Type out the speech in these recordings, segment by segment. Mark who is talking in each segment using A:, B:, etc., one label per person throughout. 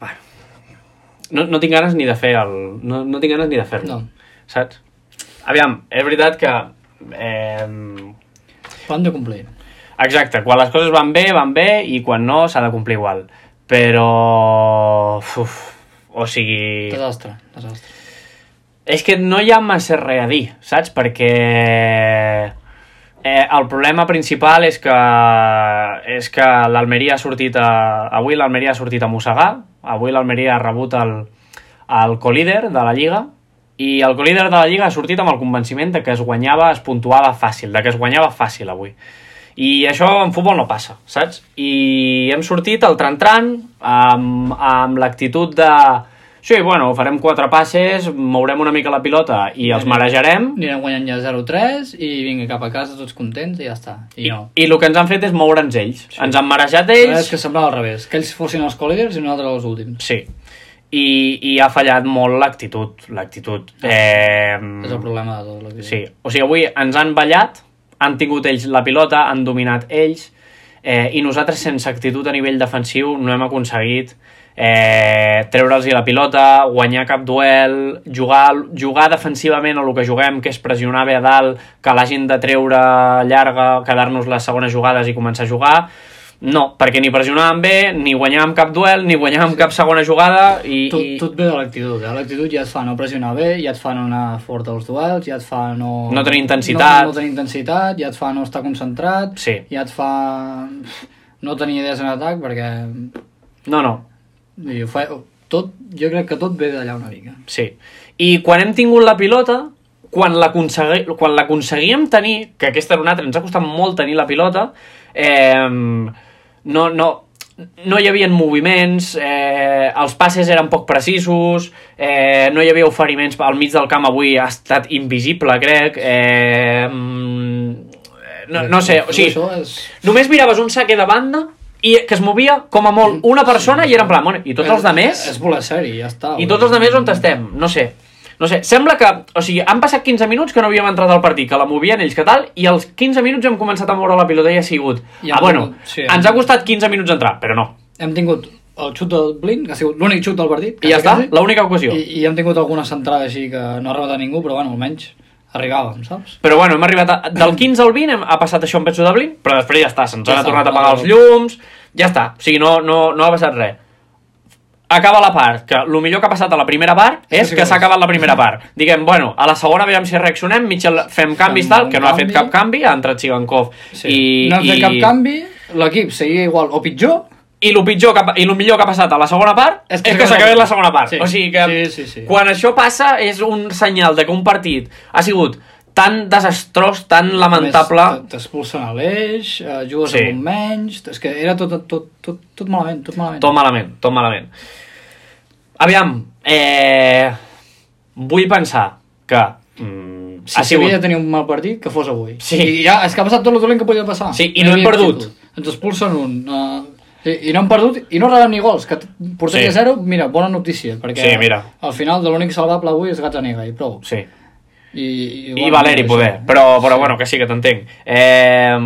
A: bueno. No, no tinc ganes ni de fer el... No, no tinc ganes ni de fer-lo.
B: No.
A: Saps? Aviam, és veritat que... Eh,
B: Ho han de complir.
A: exacte, quan les coses van bé, van bé, i quan no, s'ha de complir igual. Però... Uf, o sigui...
B: Desastre, desastre.
A: És que no hi ha massa res a dir, saps? Perquè eh, el problema principal és que, és que l'Almeria ha sortit a... Avui l'Almeria ha sortit a mossegar, avui l'Almeria ha rebut el, el colíder de la Lliga, i el colíder de la Lliga ha sortit amb el convenciment de que es guanyava, es puntuava fàcil, de que es guanyava fàcil avui. I això en futbol no passa, saps? I hem sortit al tran-tran amb, amb l'actitud de... Sí, bueno, farem quatre passes, mourem una mica la pilota
B: Eh.
A: i els marejarem.
B: Anirem guanyant ja 0-3 i vinga cap a casa tots contents i ja està. I,
A: I,
B: no.
A: i el que ens han fet és moure'ns ells. Sí. Ens han marejat
B: Ells... És
A: ells.
B: que semblava al revés, que ells fossin els col·líders i nosaltres els últims.
A: Sí. I, I ha fallat molt l'actitud. L'actitud. Eh...
B: Mm. Ah. És el problema de tot. Lo que...
A: Sí, o sigui, avui ens han ballat, han tingut ells la pilota, han dominat ells, eh, i nosaltres sense actitud a nivell defensiu no hem aconseguit eh, treure'ls la pilota, guanyar cap duel, jugar, jugar defensivament a el que juguem, que és pressionar bé a dalt, que l'hagin de treure llarga, quedar-nos les segones jugades i començar a jugar, no, perquè ni pressionàvem bé, ni guanyàvem cap duel, ni guanyàvem cap segona jugada i...
B: Tot,
A: i-
B: tot ve de l'actitud, eh? L'actitud ja et fa no pressionar bé, ja et fa no anar fort als duels, ja et fa no...
A: No tenir intensitat.
B: No, no tenir intensitat, ja et fa no estar concentrat,
A: Sí.
B: ja et fa no tenir idees en atac, perquè...
A: No, no,
B: vull dir, ho Fa... Tot, jo crec que tot ve d'allà una mica.
A: Sí. I quan hem tingut la pilota, quan l'aconsegui- quan l'aconseguíem tenir, que aquesta era una altra, ens ha costat molt tenir la pilota, eh, no, no, no hi havia moviments, eh, els passes eren poc precisos, eh, no hi havia oferiments al mig del camp avui, ha estat invisible, crec. Eh, mm, no, no sé, o sigui,
B: Això és...
A: només miraves un saque de banda i que es movia com a molt una persona i era en plan, bueno, i tots els de més...
B: És voler ser-hi, ja està.
A: I tots els altres on estem? No sé. No sé, sembla que... O sigui, han passat 15 minuts que no havíem entrat al partit, que la movien ells que tal, i als 15 minuts hem començat a moure la pilota i ha sigut...
B: I
A: ah,
B: han
A: bueno,
B: vingut, sí,
A: ens ha costat 15 minuts entrar, però no.
B: hem tingut el xut del Blin, que ha sigut l'únic xut del partit.
A: I ja està,
B: quasi,
A: l'única ocasió.
B: I, I hem tingut alguna centrada així que no ha arribat a ningú, però bueno, almenys arribàvem, saps?
A: Però bueno, hem arribat a, del 15 al 20, hem, ha passat això amb Petsu de Blin, però després ja està, se'ns
B: Ja
A: han
B: està,
A: tornat a
B: no.
A: apagar els llums, ja està, o sigui, no, no, no ha passat res. Acaba la part, que el millor que ha passat a la primera part és
B: sí que
A: que s'ha
B: és.
A: acabat la primera part. Diguem, bueno, a la segona veiem si reaccionem, Mitchell fem canvis
B: un
A: tal, que no ha
B: canvi.
A: fet cap canvi, ha entrat Sigankov i...
B: no hem fet
A: i-
B: cap canvi, l'equip seguia igual o pitjor,
A: i el pitjor que, ha- i el millor que ha passat a la segona part és que, és que s'ha acabat la segona part. Sí. O sigui que
B: Sí, sí, sí.
A: quan això passa és un senyal de que un partit ha sigut tan desastrós, tan lamentable...
B: Més, eh, t- T'expulsen a l'eix, eh, jugues
A: Sí.
B: sí. amb un menys, és que era tot, tot, tot, tot malament, tot malament.
A: Tot malament, tot malament. Aviam, eh, vull pensar que mm,
B: si
A: ha sigut...
B: s'havia de tenir un mal partit, que fos avui.
A: Sí.
B: I ja, és que ha passat tot el dolent que podia passar.
A: Sí, i no hem
B: havia
A: perdut.
B: actitud. Ens expulsen un... Uh, i, I no hem perdut, i no rebem ni gols, que t- portem
A: Sí.
B: sí. a zero, mira, bona notícia, perquè
A: Sí, mira.
B: al final de l'únic salvable avui és Gazzaniga, i prou.
A: Sí.
B: I,
A: I Valeri poder,
B: eh?
A: però, però bueno, que sí que t'entenc. Eh,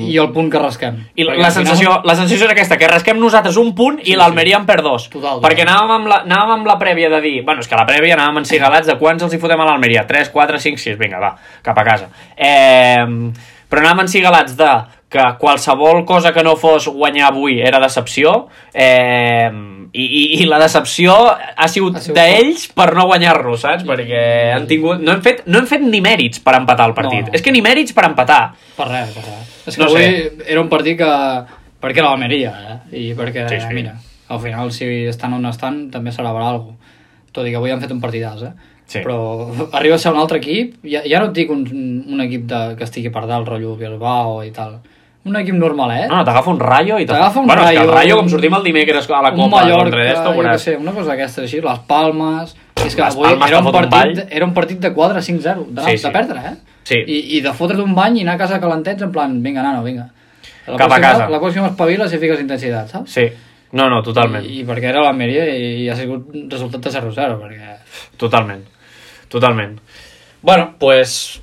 B: I el punt que rasquem.
A: I la,
B: Perquè
A: la,
B: al final-
A: sensació, la sensació és aquesta, que rasquem nosaltres un punt i l'Almeria en perd dos.
B: Total, total.
A: perquè anàvem amb, la, anàvem amb la prèvia de dir... Bueno, és que a la prèvia anàvem encigalats de quants els hi fotem a l'Almeria. 3, 4, 5, 6, vinga, va, cap a casa. Eh, però anàvem encigalats de que qualsevol cosa que no fos guanyar avui era decepció eh, i, i, i la decepció ha sigut,
B: Ha sigut
A: d'ells per no guanyar-lo, saps? Perquè han tingut, no, hem fet, no hem fet ni mèrits per empatar el partit.
B: no.
A: És que ni mèrits per empatar.
B: Per res, per res. És que
A: No
B: no
A: sé.
B: avui era un partit que... Perquè era l'Almeria, eh? I perquè,
A: Sí,
B: sí,
A: sí.
B: sí. mira, al final, si estan on estan, també serà per alguna cosa. Tot i que avui han fet un partidàs, eh?
A: Sí.
B: Però arriba a ser un altre equip, ja, ja no et dic un, un equip de, que estigui per dalt, rotllo Bilbao i tal. Un equip normalet,
A: No, no, Ah, t'agafa un rayo i te-
B: Eh? T'agafa un
A: bueno, és que el
B: rayo,
A: rayo,
B: un-
A: com sortim el dimecres a la
B: un
A: Copa
B: Mallorca,
A: contra d'esto,
B: jo
A: veuràs.
B: què sé, una cosa d'aquestes així, les Palmes... És que
A: Les
B: avui
A: Palmes
B: era
A: te
B: un,
A: fot un
B: partit,
A: ball.
B: era un partit de 4 5-0, de, sí,
A: Sí, sí.
B: sí. de perdre, eh?
A: Sí.
B: I, I de fotre't un bany i anar a casa calentets en plan, vinga, nano, vinga. La
A: Cap a
B: pròxima-
A: casa.
B: La pròxima espaviles i fiques intensitat, saps?
A: Sí, no, no, totalment,
B: I, I perquè era l'Almeria i, i ha sigut un resultat de 0-0, perquè...
A: totalment, totalment. Bueno, pues,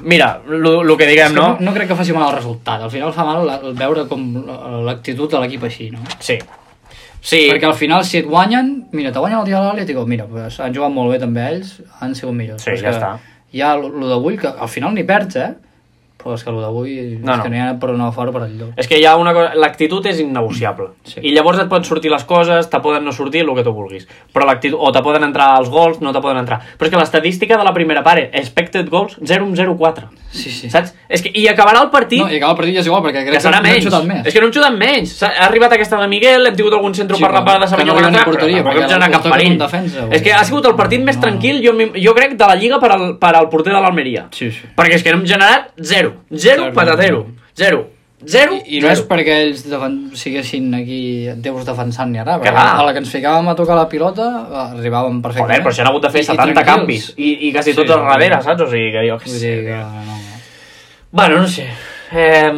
A: mira, el que diguem,
B: És que
A: no?
B: no crec que faci mal el resultat, al final fa mal la, el veure com la- l'actitud de l'equip així, no?
A: Sí,
B: Sí.
A: Sí,
B: Perquè al final, si et guanyen, mira, te guanyen el dia de l'Atlético, mira, pues, han jugat molt bé també ells, han sigut millors.
A: Sí,
B: Però és
A: ja
B: que
A: està.
B: Hi ha el d'avui, que al final ni perds, eh? Però és que el d'avui no,
A: No,
B: és que
A: no.
B: no hi ha per una fora per enlloc.
A: És que hi ha una cosa... L'actitud és innegociable.
B: Sí.
A: Sí. I llavors et poden sortir les coses, te poden no sortir, el que tu vulguis. Però l'actitud... O te poden entrar els gols, no te poden entrar. Però és que l'estadística de la primera part és expected goals 0-0-4.
B: Sí, sí.
A: Saps? És que... I acabarà el partit...
B: No, i acaba el partit ja és igual, perquè crec
A: que
B: que,
A: serà
B: no han
A: menys.
B: xutat més.
A: És que no hem xutat menys. S'ha- Ha arribat aquesta de Miguel, hem tingut algun centre
B: Sí,
A: per la
B: però
A: part de
B: que
A: Sabinyó
B: no arriben a porteria, perquè
A: hem
B: el
A: anat cap
B: toquen
A: perill.
B: en defensa,
A: és que ha sigut el partit més
B: no.
A: tranquil, jo, mi- jo crec, de la Lliga per al, per al porter de l'Almeria.
B: Sí, sí.
A: Perquè és que n'hem generat zero. Zero
B: Zero.
A: patatero. Zero. Zero.
B: I, I no és
A: zero.
B: perquè ells defen siguessin aquí déus defensant ni ara, perquè
A: Clar.
B: a la que ens ficàvem a tocar la pilota eh, arribàvem perfectament.
A: Joder, però si han hagut de fer
B: I- i
A: 70
B: tranquils.
A: canvis. I, I quasi
B: Sí,
A: tots al
B: sí.
A: darrere, saps? O sigui, que jo què
B: Vull
A: sé.
B: dir que no.
A: Bueno, no sé. Eh,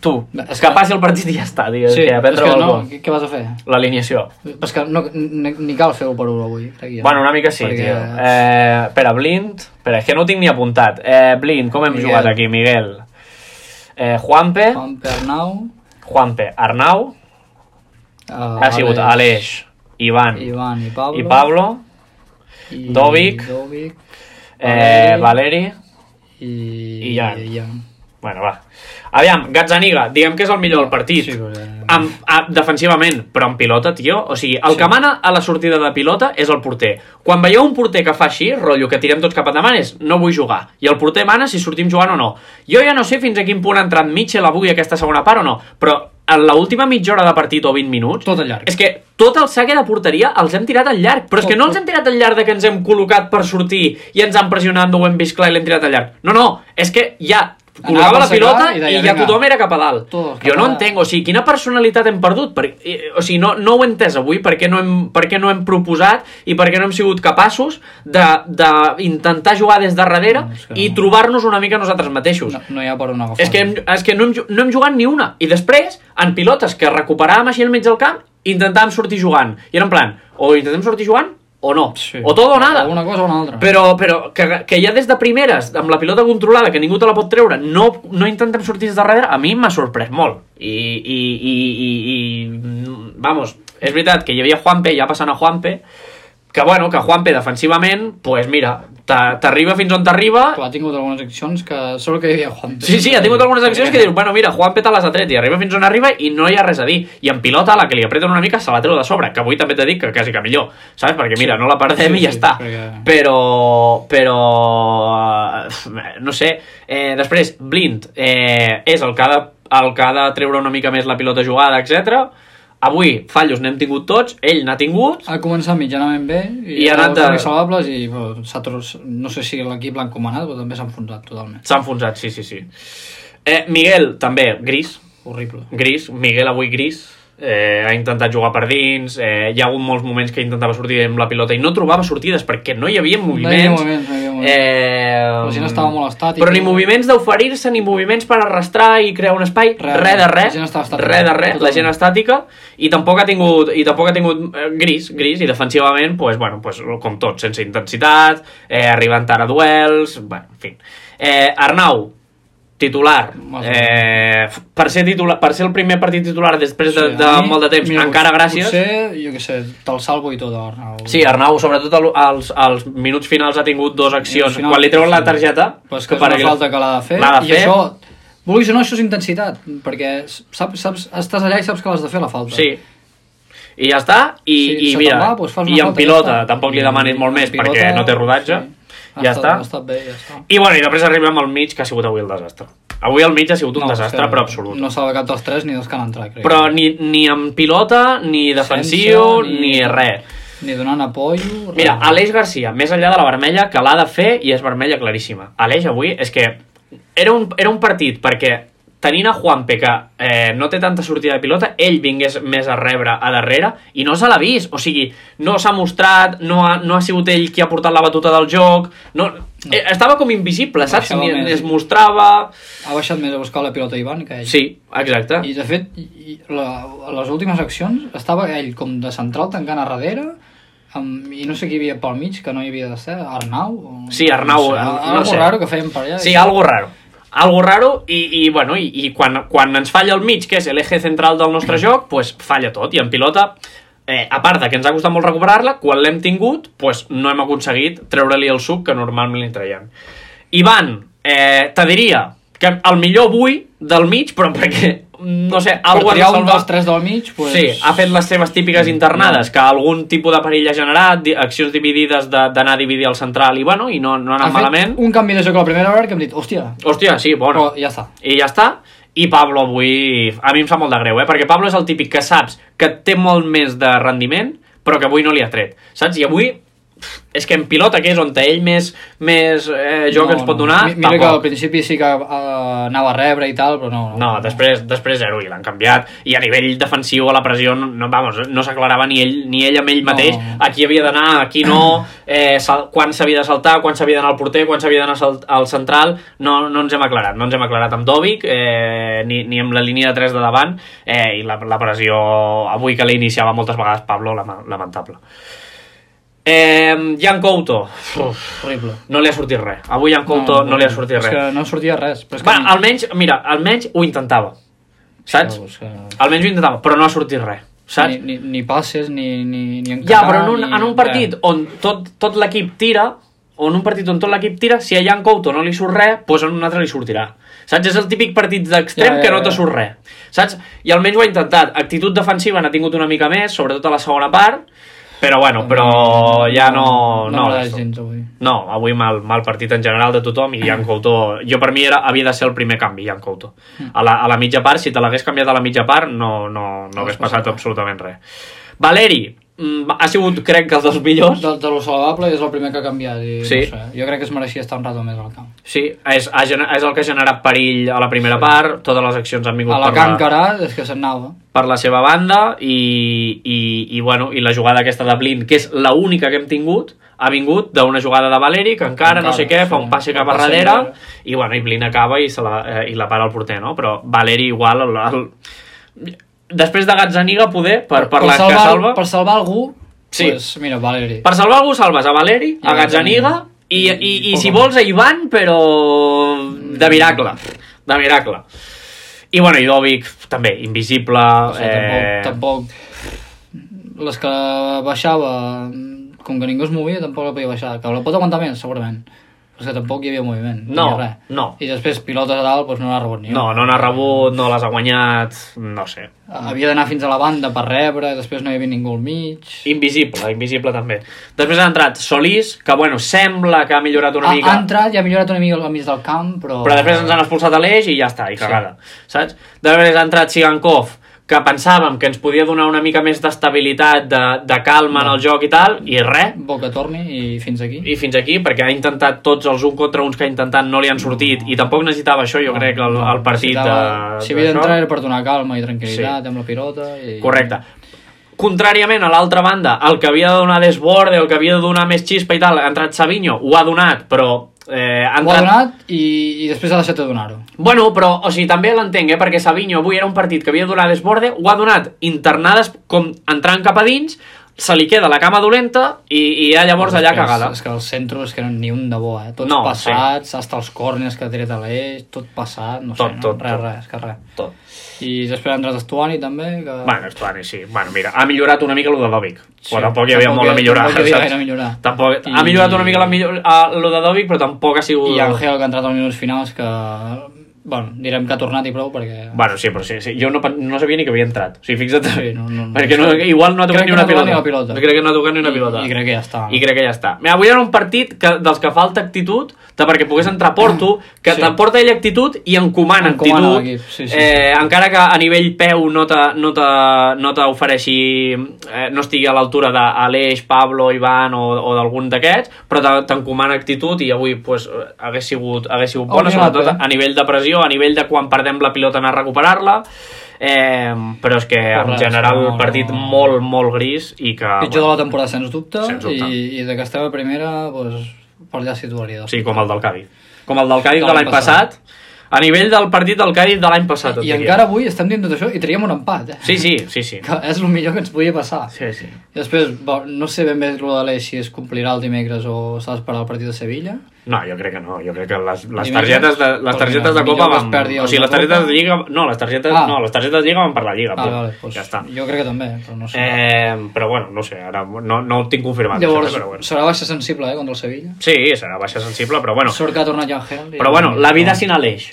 A: tu,
B: Va, és
A: que
B: que-
A: passi el partit i ja està, tio.
B: Sí,
A: Sí, que a
B: és
A: prendre
B: que
A: el
B: no,
A: gol.
B: què, què vas a fer?
A: L'alineació.
B: Però és que no, ni, ni cal fer-ho per un avui, crec jo.
A: Bueno, una mica sí,
B: Perquè-
A: tio. Eh, espera, Blind... Espera, és que no ho tinc ni apuntat. Eh, Blind, com hem
B: Miguel.
A: jugat aquí, Miguel? Eh, Juanpe,
B: Juan Pernau...
A: Juanpe, Arnau,
B: Uh,
A: ha sigut Aleix, Ivan
B: Ivan i Pablo.
A: i Pablo,
B: i
A: Dovic.
B: Dovic.
A: eh,
B: Valeri.
A: Valeri...
B: I...
A: I Jan.
B: I Jan.
A: Bueno, va. Aviam, Gazzaniga, diguem que és el millor del partit.
B: Sí, però-
A: amb, a, defensivament, però en pilota, tio. O sigui, el sí. que mana a la sortida de pilota és el porter. Quan veieu un porter que fa així, rotllo, que tirem tots cap endavant, és no vull jugar. I el porter mana si sortim jugant o no. Jo ja no sé fins a quin punt ha entrat Mitchell avui aquesta segona part o no, però en l'última mitja hora de partit o 20 minuts...
B: Tot al llarg.
A: És que tot el saque de porteria els hem tirat al llarg, però és que no els hem tirat al llarg de que ens hem col·locat per sortir i ens han pressionat, no ho hem vist clar i l'hem tirat al llarg. No, no, és que ja
B: a
A: col·locava la
B: sacar
A: pilota
B: i
A: i,
B: deia,
A: ja
B: "Vinga".
A: tothom era cap a dalt.
B: Todos cap
A: jo no
B: a dalt.
A: entenc, o sigui, quina personalitat hem perdut? Per, eh, o sigui, no, no ho he entès avui, per què no hem, per què no hem proposat i per què no hem sigut capaços d'intentar jugar des de darrere
B: No, és que
A: i
B: no.
A: trobar-nos una mica nosaltres mateixos.
B: No, no hi ha per on agafar.
A: És que, hem, és que no, hem, ju- no hem jugat ni una. I després, en pilotes que recuperàvem així al mig del camp, intentàvem sortir jugant. I era en plan, o intentem sortir jugant o no.
B: Sí.
A: O tot o nada.
B: Alguna cosa o una altra.
A: Però, però que, que ja des de primeres, amb la pilota controlada, que ningú te la pot treure, no, no intentem sortir des de darrere, a mi m'ha sorprès molt. I, i, i, i, i, vamos, és veritat que hi havia Juanpe, ja passant a Juanpe, que bueno, que Juanpe defensivament, pues mira, t'a- t'arriba fins on t'arriba,
B: Però ha tingut algunes accions que... Sort que hi havia Juan.
A: Sí, sí, ha tingut algunes accions que dius, bueno, mira, Juan Peta les ha tret i arriba fins on arriba i no hi ha res a dir. I en pilota, la que li apreten una mica, se la treu de sobre, que avui també t'he dit que quasi que millor, saps? Perquè mira, no la perdem
B: Sí,
A: i ja
B: sí,
A: està.
B: perquè-
A: Però, però, eh, no sé, eh, després, Blind eh, és el que, ha de, el que ha de treure una mica més la pilota jugada, etc. Avui, fallos n'hem tingut tots, ell n'ha tingut,
B: Ha començat mitjanament bé i,
A: I ha anat de-
B: de... saludables i bueno, s'ha tros... no sé si l'equip l'ha encomanat però també s'ha enfonsat totalment.
A: s'ha enfonsat, sí, sí, sí. Eh, Miguel, també, gris,
B: Horrible.
A: gris, Miguel avui gris, eh, ha intentat jugar per dins, eh, hi ha hagut molts moments que intentava sortir amb la pilota i no trobava sortides perquè no hi havia moviments.
B: moviments, no hi havia moviments.
A: Eh,
B: La gent estava molt estàtica.
A: Però ni moviments d'oferir-se, ni moviments per arrastrar i crear un espai,
B: Res,
A: res, res de
B: la
A: res,
B: gent estava estàtica.
A: res de res, la
B: Totalment.
A: gent estàtica, i tampoc ha tingut, i tampoc ha tingut eh, gris, gris, i defensivament, pues, bueno, pues, com tot, sense intensitat, eh, arribant tard a duels, bueno, en fi. Eh, Arnau, titular.
B: Molt bé.
A: Eh, f- per, ser titular, per ser el primer partit titular després de,
B: Sí,
A: de
B: a mi,
A: molt de temps,
B: mira,
A: encara gràcies.
B: Potser, jo què sé, te'l salvo i tot, Arnau.
A: Sí, Arnau, sobretot al- als, als minuts finals ha tingut dues accions.
B: final,
A: Final, Quan li treuen la
B: sí.
A: targeta...
B: Però és que és
A: per
B: una
A: aquella-
B: falta que l'ha de fer.
A: L'ha de
B: I
A: fer.
B: això, vulguis o no, això és intensitat, perquè saps, saps, estàs allà i saps que l'has de fer la falta.
A: Sí. I ja està, i,
B: Sí,
A: i
B: se te'n
A: mira,
B: va, doncs fas una
A: i en
B: falta, ja
A: pilota
B: està.
A: tampoc li
B: I-
A: demanis molt
B: i en
A: més
B: pilota,
A: perquè no té rodatge,
B: sí.
A: ja
B: Ha
A: està.
B: estat- Ha estat bé, ja està.
A: I bueno, i després arribem al mig, que ha sigut avui el desastre. Avui al mig ha sigut un
B: No, és
A: desastre,
B: que
A: però absolut.
B: No s'ha cap dels tres ni dels que han entrat, crec.
A: Però ni, ni en pilota, ni defensiu,
B: Sense,
A: ni... ni res.
B: Ni donant apoyo... res.
A: Mira, Aleix Garcia, més enllà de la vermella, que l'ha de fer i és vermella claríssima. Aleix avui és que era un, era un partit perquè tenint a Juanpe, que eh, no té tanta sortida de pilota, ell vingués més a rebre a darrere i no se l'ha vist. O sigui, no s'ha mostrat, no ha, no ha sigut ell qui ha portat la batuta del joc, no, Eh, estava com invisible, saps?
B: Baixava
A: Ni,
B: més.
A: es mostrava...
B: Ha baixat més a buscar la pilota Ivan que ell.
A: Sí, exacte.
B: I, de fet, i, i la, a les últimes accions estava ell com de central tancant a darrere amb, i no sé qui hi havia pel mig, que no hi havia de ser, Arnau? O...
A: Sí, Arnau, eh,
B: No sé,
A: no
B: algo
A: sé.
B: raro que feien per allà.
A: Sí, algo raro. algo raro i, i, bueno, i, i quan, quan ens falla el mig, que és l'eje central del nostre
B: Mm.
A: joc, pues, falla tot i en pilota eh, a part de que ens ha costat molt recuperar-la, quan l'hem tingut pues, no hem aconseguit treure-li el suc que normalment li traiem. Ivan, eh, te diria que el millor avui del mig, però perquè no sé, algú
B: per
A: ens
B: triar
A: ha
B: un
A: salvat-
B: dels tres del mig, pues...
A: Sí, ha fet les seves típiques internades, que algun tipus de perill ha generat, di- accions dividides de- d'anar a dividir el central i, bueno, i no, no ha
B: Ha
A: anat
B: fet
A: malament.
B: un canvi de joc a la primera hora que hem dit, hòstia,
A: Hòstia, sí,
B: però
A: bueno.
B: ja està.
A: I ja està. I Pablo avui... A mi em sap molt de greu, eh? Perquè Pablo és el típic que saps que té molt més de rendiment, però que avui no li ha tret. Saps? I avui pff, és que en pilota, que és on ell més, més eh, joc no, ens pot donar,
B: Mi- Mira que al
A: tampoc.
B: principi sí que eh, anava a rebre i tal, però no.
A: No, després, després zero i l'han canviat. I a nivell defensiu, a la pressió, no, no, vamos, no s'aclarava ni ell, ni ell amb ell mateix.
B: No.
A: A qui havia d'anar, a qui no, eh, sal, quan s'havia de saltar, quan s'havia d'anar al porter, quan s'havia d'anar sal- al central. No, no ens hem aclarat. No ens hem aclarat amb Dovic, eh, ni, ni amb la línia de 3 de davant. Eh, I la, la pressió, avui que la iniciava moltes vegades Pablo, lama- lamentable. Eh, Jan Couto. Uf,
B: Horrible.
A: no li ha sortit res. Avui Jan Couto no, no li ha sortit
B: És
A: res.
B: que no sortia res. Però és que
A: Va, almenys, mira, almenys ho intentava. Saps?
B: És que...
A: Almenys ho intentava, però no ha sortit res,
B: Ni,
A: saps?
B: ni, ni passes, ni, ni, ni
A: Ja,
B: encarar,
A: però en un,
B: ni...
A: en un partit on tot, tot l'equip tira, o en un partit on tot l'equip tira, si a Jan Couto no li surt res, doncs en un altre li sortirà. Saps? És el típic partit d'extrem
B: Ja, ja,
A: que no
B: ja.
A: te surt res. Saps? I almenys ho ha intentat. Actitud defensiva n'ha tingut una mica més, sobretot a la segona part, però bueno, però ja no...
B: No,
A: No,
B: m'agrada
A: no,
B: gens avui.
A: no avui mal, mal partit en general de tothom i Jan Couto... Jo per mi era, havia de ser el primer canvi, Jan Couto. A la, a la mitja part, si te l'hagués canviat a la mitja part, no, no, no hagués passat absolutament res. Valeri, mm, ha sigut, crec que, els dels millors.
B: De, de lo salvable és el primer que ha canviat. I,
A: Sí.
B: no sé, jo crec que es mereixia estar un rato més al camp.
A: Sí, és, ha gener- és el que ha generat perill a la primera part, totes les accions han vingut
B: A la
A: per
B: Can
A: la,
B: Carà és que se'n anava.
A: per la seva banda i, i, i, bueno, i la jugada aquesta de Blin, que és l'única que hem tingut, ha vingut d'una jugada de Valeri que encara, no sé què, fa un passe cap a
B: passe
A: darrere
B: enrere.
A: i, bueno, i Blin acaba i, se la, eh, i la para el porter, no? Però Valeri igual... El, el... Després de Gazzaniga, poder, per, per, la
B: salvar,
A: que salva...
B: Per salvar algú,
A: Sí. Eh.
B: pues, mira, Valeri.
A: Per salvar algú salves a
B: I
A: Valeri,
B: a
A: a Gazzaniga i, i, i si vols a Mm. Ivan, però de miracle. De miracle. I bueno, i Dovic també, invisible.
B: O sigui,
A: eh...
B: tampoc, tampoc... Les que baixava, com que ningú es movia, tampoc la podia baixar. Que la pot aguantar més, segurament. Però és que tampoc hi havia moviment.
A: No,
B: ni res.
A: no.
B: I després pilotes a dalt, doncs no n'ha rebut ni
A: No,
B: una.
A: no n'ha rebut, no les ha guanyat, no sé.
B: Havia d'anar fins a la banda per rebre, després no hi havia ningú al mig...
A: Invisible, invisible també. Després ha entrat Solís, que bueno, sembla que ha millorat una
B: Ha,
A: mica,
B: ha entrat i ha millorat una mica al mig del camp, però...
A: però després ens han expulsat a l'eix i ja està, i cagada, saps? Després ha entrat Sigankov, que pensàvem que ens podia donar una mica més d'estabilitat, de, de calma en el joc i tal, i res,
B: Boca torni i fins aquí.
A: i fins aquí, perquè ha intentat tots els un contra uns que ha intentat, no li han sortit, i tampoc necessitava això, jo crec, el, el partit de...
B: Necessitava- Ah, Si havia
A: d'això.
B: d'entrar era per donar calma i tranquil·litat amb la pilota i...
A: Correcte. Contràriament a l'altra banda, el que havia de donar desborde, el que havia de donar més xispa i tal, ha entrat Savinho, ho ha donat, però... Eh, ha
B: Ho ha
A: entrat...
B: donat i, i després ha deixat de donar-ho.
A: Bueno, però, o sigui, també l'entenc, eh? Perquè Savinho avui era un partit que havia de donar desborde, ho ha donat internades com entrant cap a dins, se li queda la cama dolenta i, i ja llavors allà
B: Després,
A: cagada.
B: És que els centros que no, ni un de bo, eh? Tots
A: No,
B: passats, sí. hasta els còrners que ha tret a l'eix, tot passat, no
A: Tot,
B: sé, no?
A: tot,
B: res,
A: tot.
B: res, és que res.
A: Tot.
B: I després ha entrat Estuani també, que...
A: Bueno, Estuani, sí. Bueno, mira, ha millorat una mica el de Dovic.
B: Sí,
A: Sí, però tampoc hi havia
B: tampoc
A: molt a
B: hi-
A: millorar.
B: tampoc hi havia
A: saps?
B: gaire a millorar.
A: Tampoc...
B: I-
A: Ha millorat una mica la millor... a, lo de Dovic, però tampoc ha sigut...
B: I Angel, que ha entrat als minuts finals, que... Bueno, direm que ha tornat i prou, perquè...
A: Bueno, sí, però sí, sí. jo no, pen- no sabia ni que havia entrat. O sigui, fixa't,
B: Sí, no, no, no.
A: perquè no, igual no ha tocat
B: Crec
A: ni
B: que
A: una
B: no ha tocat
A: pilota.
B: ni la pilota.
A: Crec que no ha tocat ni una
B: I-
A: pilota.
B: I, crec que ja està.
A: I crec que ja està. Mira, avui era un partit que, dels que falta actitud, de perquè pogués entrar Porto, que
B: Sí.
A: sí. t'emporta ell actitud i encomana,
B: Encomana
A: actitud.
B: l'equip, sí, sí,
A: eh, Encara que a nivell peu no te, no te, no t'ofereixi, eh, no estigui a l'altura d'Aleix, Pablo, Ivan o, o d'algun d'aquests, però te- t'encomana actitud i avui pues, eh, hagués sigut, hagués sigut bona,
B: Hauria anat
A: sobretot
B: bé.
A: a nivell de pressió, a nivell de quan perdem la pilota anar a recuperar-la, eh, però és que en
B: res,
A: general
B: no,
A: el partit
B: no.
A: molt, molt gris i que...
B: Pitjor de la temporada, sens dubte,
A: Sens dubte.
B: I, i de que estem a primera, doncs, per allà situaria.
A: Sí, com el del Cádiz. Com el del Cádiz de l'any passat. A nivell del partit del Cádiz de l'any passat.
B: Ah,
A: et
B: I
A: diria.
B: encara avui estem dient tot això i traiem un empat, eh?
A: Sí, sí, sí, sí.
B: Que és el millor que ens podia passar.
A: Sí, sí.
B: I després, bo, no sé ben bé el de l'Eix si es complirà el dimecres o s'ha d'esperar el partit de Sevilla.
A: No, jo crec que no. Jo crec que les, les
B: Dimecres?
A: targetes de, les
B: Perquè
A: targetes de
B: millor
A: Copa
B: que es
A: van...
B: perdi
A: O sigui, les
B: la Copa.
A: targetes de Lliga... No, les targetes,
B: Ah.
A: no, les targetes de Lliga van per la Lliga.
B: Ah,
A: punt.
B: vale, doncs
A: ja està.
B: Jo crec que també, però no sé.
A: Eh, però bueno, no sé, ara no, no ho tinc confirmat.
B: Llavors,
A: això, eh, però bueno.
B: serà baixa sensible, eh, contra el Sevilla.
A: Sí, serà baixa sensible, però bueno.
B: Sort que ha tornat Jan Henry.
A: Però bueno, la vida sin Aleix.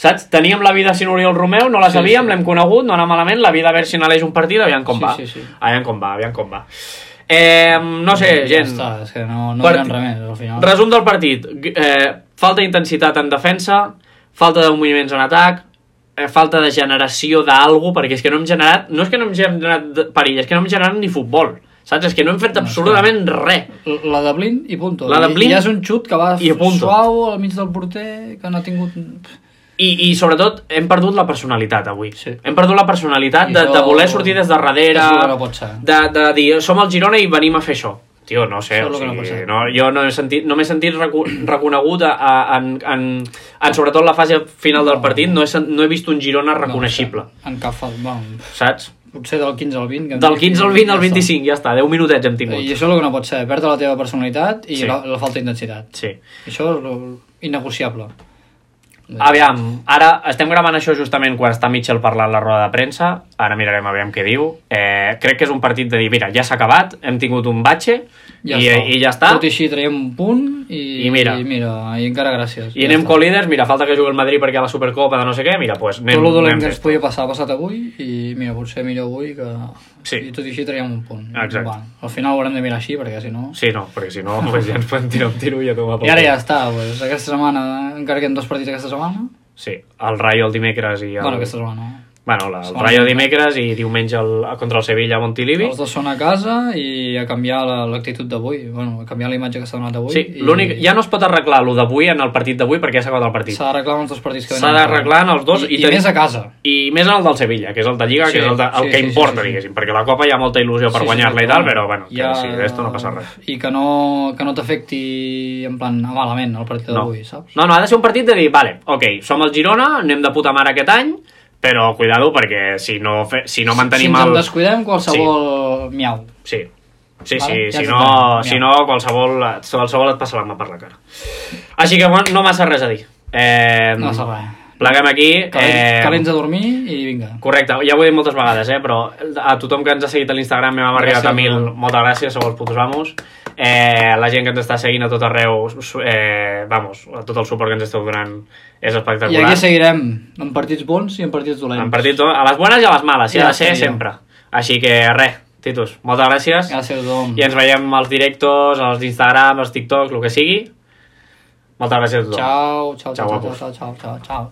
A: Saps? Teníem la vida sin Oriol Romeu, no la
B: Sí,
A: sabíem,
B: sí.
A: l'hem conegut, no anava malament, la vida a veure si en Aleix un partit, aviam com
B: Sí,
A: va.
B: sí, sí.
A: Aviam com va, aviam com va. Eh, no sé,
B: Ja
A: gent,
B: està, és que no, no
A: Per-
B: diran res més, al final.
A: Resum del partit. G- Eh, falta d'intensitat en defensa, falta de moviments en atac, eh, falta de generació d'algo, perquè és que no hem generat... No és que no hem generat de- perill, és que no hem generat ni futbol. Saps? És que no hem fet absolutament res.
B: La de Blin i punto.
A: La de Blin
B: I, ja és un xut que va
A: i punto.
B: suau al mig del porter, que no ha tingut...
A: I, I sobretot hem perdut la personalitat avui.
B: Sí.
A: Hem perdut la personalitat
B: I
A: de,
B: això-
A: de voler sortir des de darrere,
B: això no pot ser.
A: de, de dir "Oh, som el Girona i venim a fer això. Tio, no sé,
B: Això
A: o
B: és el que no pot
A: sigui,
B: ser.
A: no, jo no he sentit, no m'he sentit reco reconegut a, a, en, en, en, sobretot la fase final del partit, no he, sen- no he vist un Girona reconeixible,
B: No, en cap fal... Bueno,
A: saps?
B: potser del 15 al 20. Que
A: Del 15 al 20 al 25, ja està, 10 minutets hem tingut.
B: I això és el que no pot ser, perdre la teva personalitat i
A: Sí.
B: sí. la, la falta d'intensitat.
A: Sí.
B: Això és lo- innegociable.
A: Aviam, ara estem gravant això justament quan està Mitchell parlant a la roda de premsa, ara mirarem aviam què diu. Eh, crec que és un partit de dir, mira, ja s'ha acabat, hem tingut un batxe ja i,
B: està.
A: i ja està,
B: Tot i així traiem un punt i,
A: I mira.
B: i, mira, i encara gràcies.
A: i anem
B: està.
A: co-líders, mira, falta que jugui el Madrid perquè a la Supercopa de no sé què, mira, doncs pues, anem,
B: Tot el dolent
A: anem
B: que
A: fent.
B: ens podia passar ha passat avui i mira, potser millor avui que...
A: Sí.
B: I tot i així traiem un punt.
A: Exacte.
B: Va, al final ho haurem de mirar així perquè si no...
A: Sí, no, perquè si no, pues, ja ens podem tirar un tiro i a tomar pel
B: I ara
A: cul.
B: ja està, doncs, aquesta setmana, encara queden dos partits aquesta setmana.
A: Sí, el Rayo el dimecres i el...
B: Bueno, aquesta setmana. eh.
A: bueno la, el
B: Segona.
A: Rayo dimecres i diumenge el, contra el Sevilla a Montilivi.
B: Els dos són a casa i a canviar la- l'actitud d'avui, bueno, a canviar la imatge que s'ha donat avui.
A: Sí,
B: i
A: l'únic... Ja no es pot arreglar el d'avui en el partit d'avui perquè ja s'ha acabat el partit.
B: S'ha d'arreglar en els dos partits que
A: S'ha d'arreglar en els dos
B: I,
A: i
B: i,
A: te-
B: i més a casa.
A: i més en el del Sevilla, que és el de Lliga,
B: Sí,
A: que és el, de, el
B: sí,
A: que
B: sí, sí,
A: importa,
B: sí, sí.
A: diguéssim, perquè la Copa hi ha molta il·lusió per guanyar-la i tal, però bueno, que ja... sí, d'esto no passa res.
B: I que no, que no t'afecti en plan a malament el partit
A: No.
B: d'avui, saps?
A: no, no, ha de ser un partit de dir, vale, ok, som el Girona, anem de puta mare aquest any, però cuidado perquè si no, fe, si no
B: Si
A: mantenim
B: ens en
A: el...
B: descuidem, qualsevol miau.
A: Sí, sí, sí,
B: Vale, ja
A: si,
B: està.
A: no,
B: Mira.
A: si no qualsevol, qualsevol et passa la mà per la cara. Així que bueno, no massa res a dir. Eh,
B: No passa res.
A: Pleguem aquí. eh,
B: Calents, calents a dormir i vinga.
A: Correcte, ja ho he dit moltes vegades, eh, però a tothom que ens ha seguit a l'Instagram hem arribat a mil, moltes gràcies, sou els putos amos. Eh, la gent que ens està seguint a tot arreu, su- eh, vamos, a tot el suport que ens esteu donant és
B: I
A: espectacular.
B: aquí seguirem, en partits bons i en partits dolents.
A: En partits, a les bones i a les males, sí,
B: Ja
A: ha de ser
B: estaria.
A: sempre. Així que res, Titus, moltes gràcies.
B: Gràcies a tothom.
A: I ens veiem als directos, als d'Instagram, als TikToks, el que sigui. Moltes gràcies a tothom.
B: Ciao, ciao, ciao,
A: Ciao,
B: ciao,
A: guapos.
B: ciao, ciao, ciao, ciao.